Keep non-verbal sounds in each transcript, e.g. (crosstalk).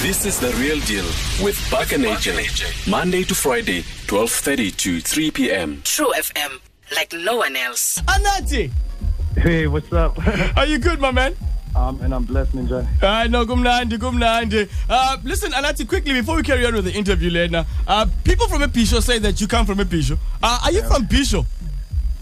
This is the real deal with Buck and AJ. Monday to Friday, 12:30 to 3 p.m. True FM, like no one else. Anati, Hey, what's (laughs) up? are you good, my man? Ah, um, and I'm blessed, Ninja. I know, kumnandi, kumnandi. Uh, listen, Anati, quickly before we carry on with the interview, Lena, uh, people from Episho say that you come from Episho. Uh, are you from Pisho?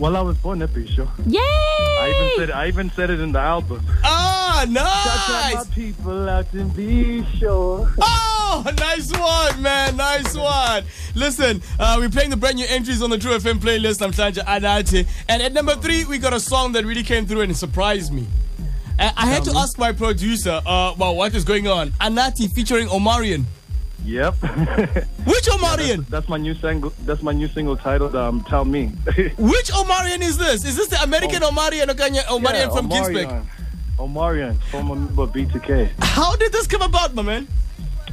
Well, I was born at Bisho. Yay! I even said I even said it in the album. Ah, Shout out nice. my people out in Bisho. Oh, nice one, man. Nice one. Listen, uh, we're playing the brand new entries on the True FM playlist. I'm Sanja Anati. And at number three, we got a song that really came through and it surprised me. Uh, I had to ask my producer, uh, well, what is going on? Anati featuring Omarion. Yep. (laughs) Which Omarion? that's my new single. That's my new single titled um, "Tell Me." (laughs) Which Omarion is this? Is this the American Omarion Okanye Omarion Yeah, from Ginsberg? Omarion. Omarion from Amoeba B2K. How did this come about, my man?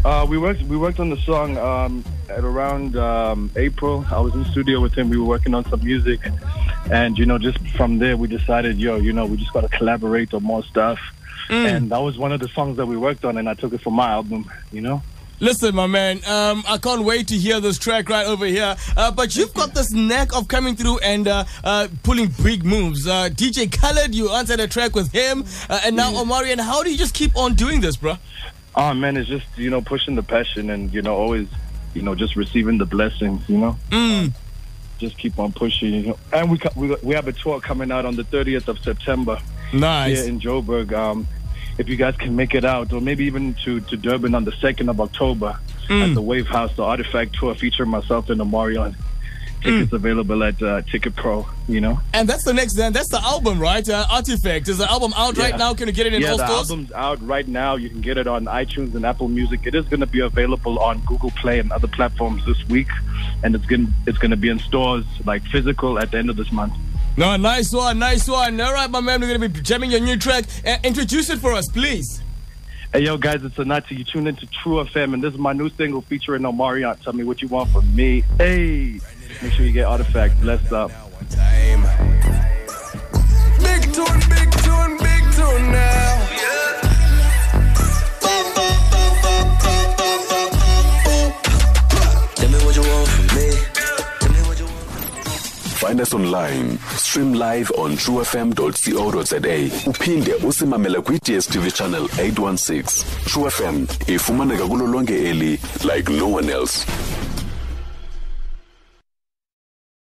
Uh, we worked we worked on the song um, at around um, April. I was in the studio with him. We were working on some music, and you know, just from there, we decided, yo, you know, we just got to collaborate on more stuff. And that was one of the songs that we worked on, and I took it from my album. You know, Listen, my man, um, I can't wait to hear this track right over here. Uh, but you've got this knack of coming through and uh, uh, pulling big moves. Uh, DJ Khaled, you answered a track with him, uh, and now Omarion. How do you just keep on doing this, bro? oh man, it's just you know pushing the passion, and you know always, you know, just receiving the blessings. You know. Just keep on pushing, you know. And we, co- we we have a tour coming out on the 30th of September. Nice. here in Joburg. Um, if you guys can make it out, or maybe even to, to Durban on the 2nd of October at the Wave House, the Artifact Tour featuring myself and Omarion. Tickets available at uh, Ticket Pro, you know? And that's the next, then that's the album, right? Uh, Artifact. Is the album out right Yeah. now? Can you get it in yeah, all the stores? album's out right now. You can get it on iTunes and Apple Music. It is going to be available on Google Play and other platforms this week. And it's going to it's gonna be in stores, like physical, at the end of this month. No, nice one, nice one. All right, my man, we're gonna be jamming your new track. Uh, introduce it for us, please. Hey, yo, guys, it's Anati. You tune into True FM, and this is my new single featuring Omarion. Tell me what you want from me. Hey, make sure you get Artifact. Blessed up. Big tune, big tune, big tune now. Boom, boom, boom, boom, boom, boom, boom, boom, boom. Tell me what you want from me. Tell me what you want. Find us online. Stream live on truefm.co.za. Uphinde usimamela kwi-DSTV channel 816. True FM ifumaneka kulo lonke eli like no one else.